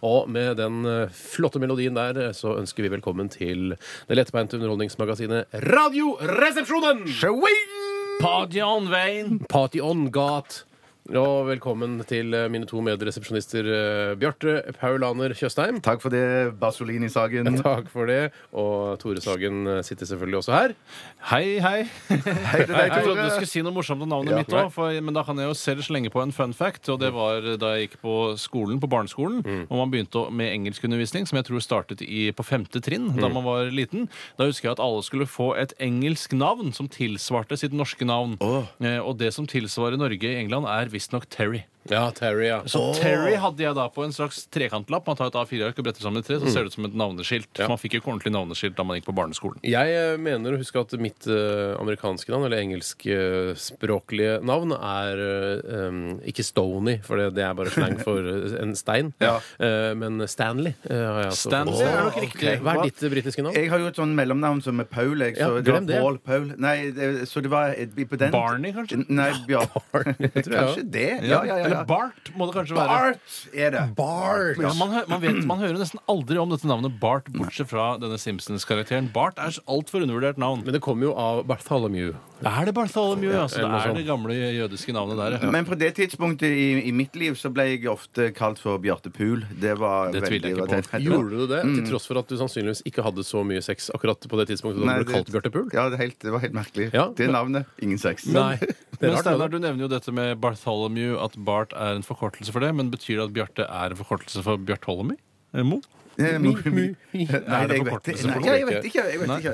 Og med den eh, flotte melodien der eh, så ønsker vi velkommen til det lettbeinte underholdningsmagasinet Radioresepsjonen! Party on Gat. Og velkommen til eh, mine to medresepsjonister eh, Bjarte Paulaner Tjøstheim. Takk for det, Basolini-sagen. Takk for det. Og Tore Sagen eh, sitter selvfølgelig også her. Hei, hei. Hei Jeg til deg, trodde du Tore. skulle si noe morsomt om navnet Ja. mitt òg, men da kan jeg jo selv slenge på en fun fact. Og det var da jeg gikk på skolen, på barneskolen, og man begynte å- med engelskundervisning, som jeg tror startet i, på femte trinn da man var liten. Da husker jeg at alle skulle få et engelsk navn som tilsvarte sitt norske navn. Eh, Og det som tilsvarer Norge i England, er visstnok Terry. Ja, Terry, ja. Så Terry hadde jeg da på en slags trekantlapp. Man tar et A4-ark og bretter sammen i tre, så ser det ut som et navneskilt. Så Man fikk jo ikke ordentlig navneskilt da man gikk på barneskolen. Jeg eh, mener å huske at mitt eh, amerikanske navn, eller engelskspråklige navn, er eh, em, ikke Stony, for det, det er bare slang for eh, en stein, Eh, men Stanley. eh, har jeg altså Stanley fått. er nok riktig. Hva er ditt eh, britiske navn? Jeg har jo et sånn mellomnavn som er Paul. Jeg, så Ja, det var glem det. Paul, Paul. Nei, det, så det var et, på den Barney, kanskje? Nei, Bjar jeg, ja. Kanskje det? Ja, ja, ja. Eller Bart må det kanskje være. Bart er det. Bart. Ja, man, hø- man, vet, man hører nesten aldri om dette navnet Bart, bortsett fra denne Simpsons-karakteren. Bart er så altfor undervurdert navn. Men det kommer jo av Bartholomew. Er det Bartholomew? Ja, altså, eller noe det sånt. er det gamle jødiske navnet der. ja. Men på det tidspunktet i, i mitt liv så ble jeg ofte kalt for Bjarte Pool. Det var Det tviler jeg ikke veldig- på. Gjorde du Mm. det? Til tross for at du sannsynligvis ikke hadde så mye sex akkurat på det tidspunktet da Nei, du ble kalt Bjarte Pool? Ja, det, er helt, det var helt merkelig. Ja. Det navnet, ingen sex. Nei. Det er Men rart, det Steinar, der. du nevner jo dette med Bartholomew, at Bart er en forkortelse for det. Men betyr det at Bjarte er en forkortelse for Bjartholemy? Eh, Mo? Eh, Mo- Nei, Er det jeg vet forkortelse ikke. for Nei, noe? jeg vet ikke. Jeg vet ikke.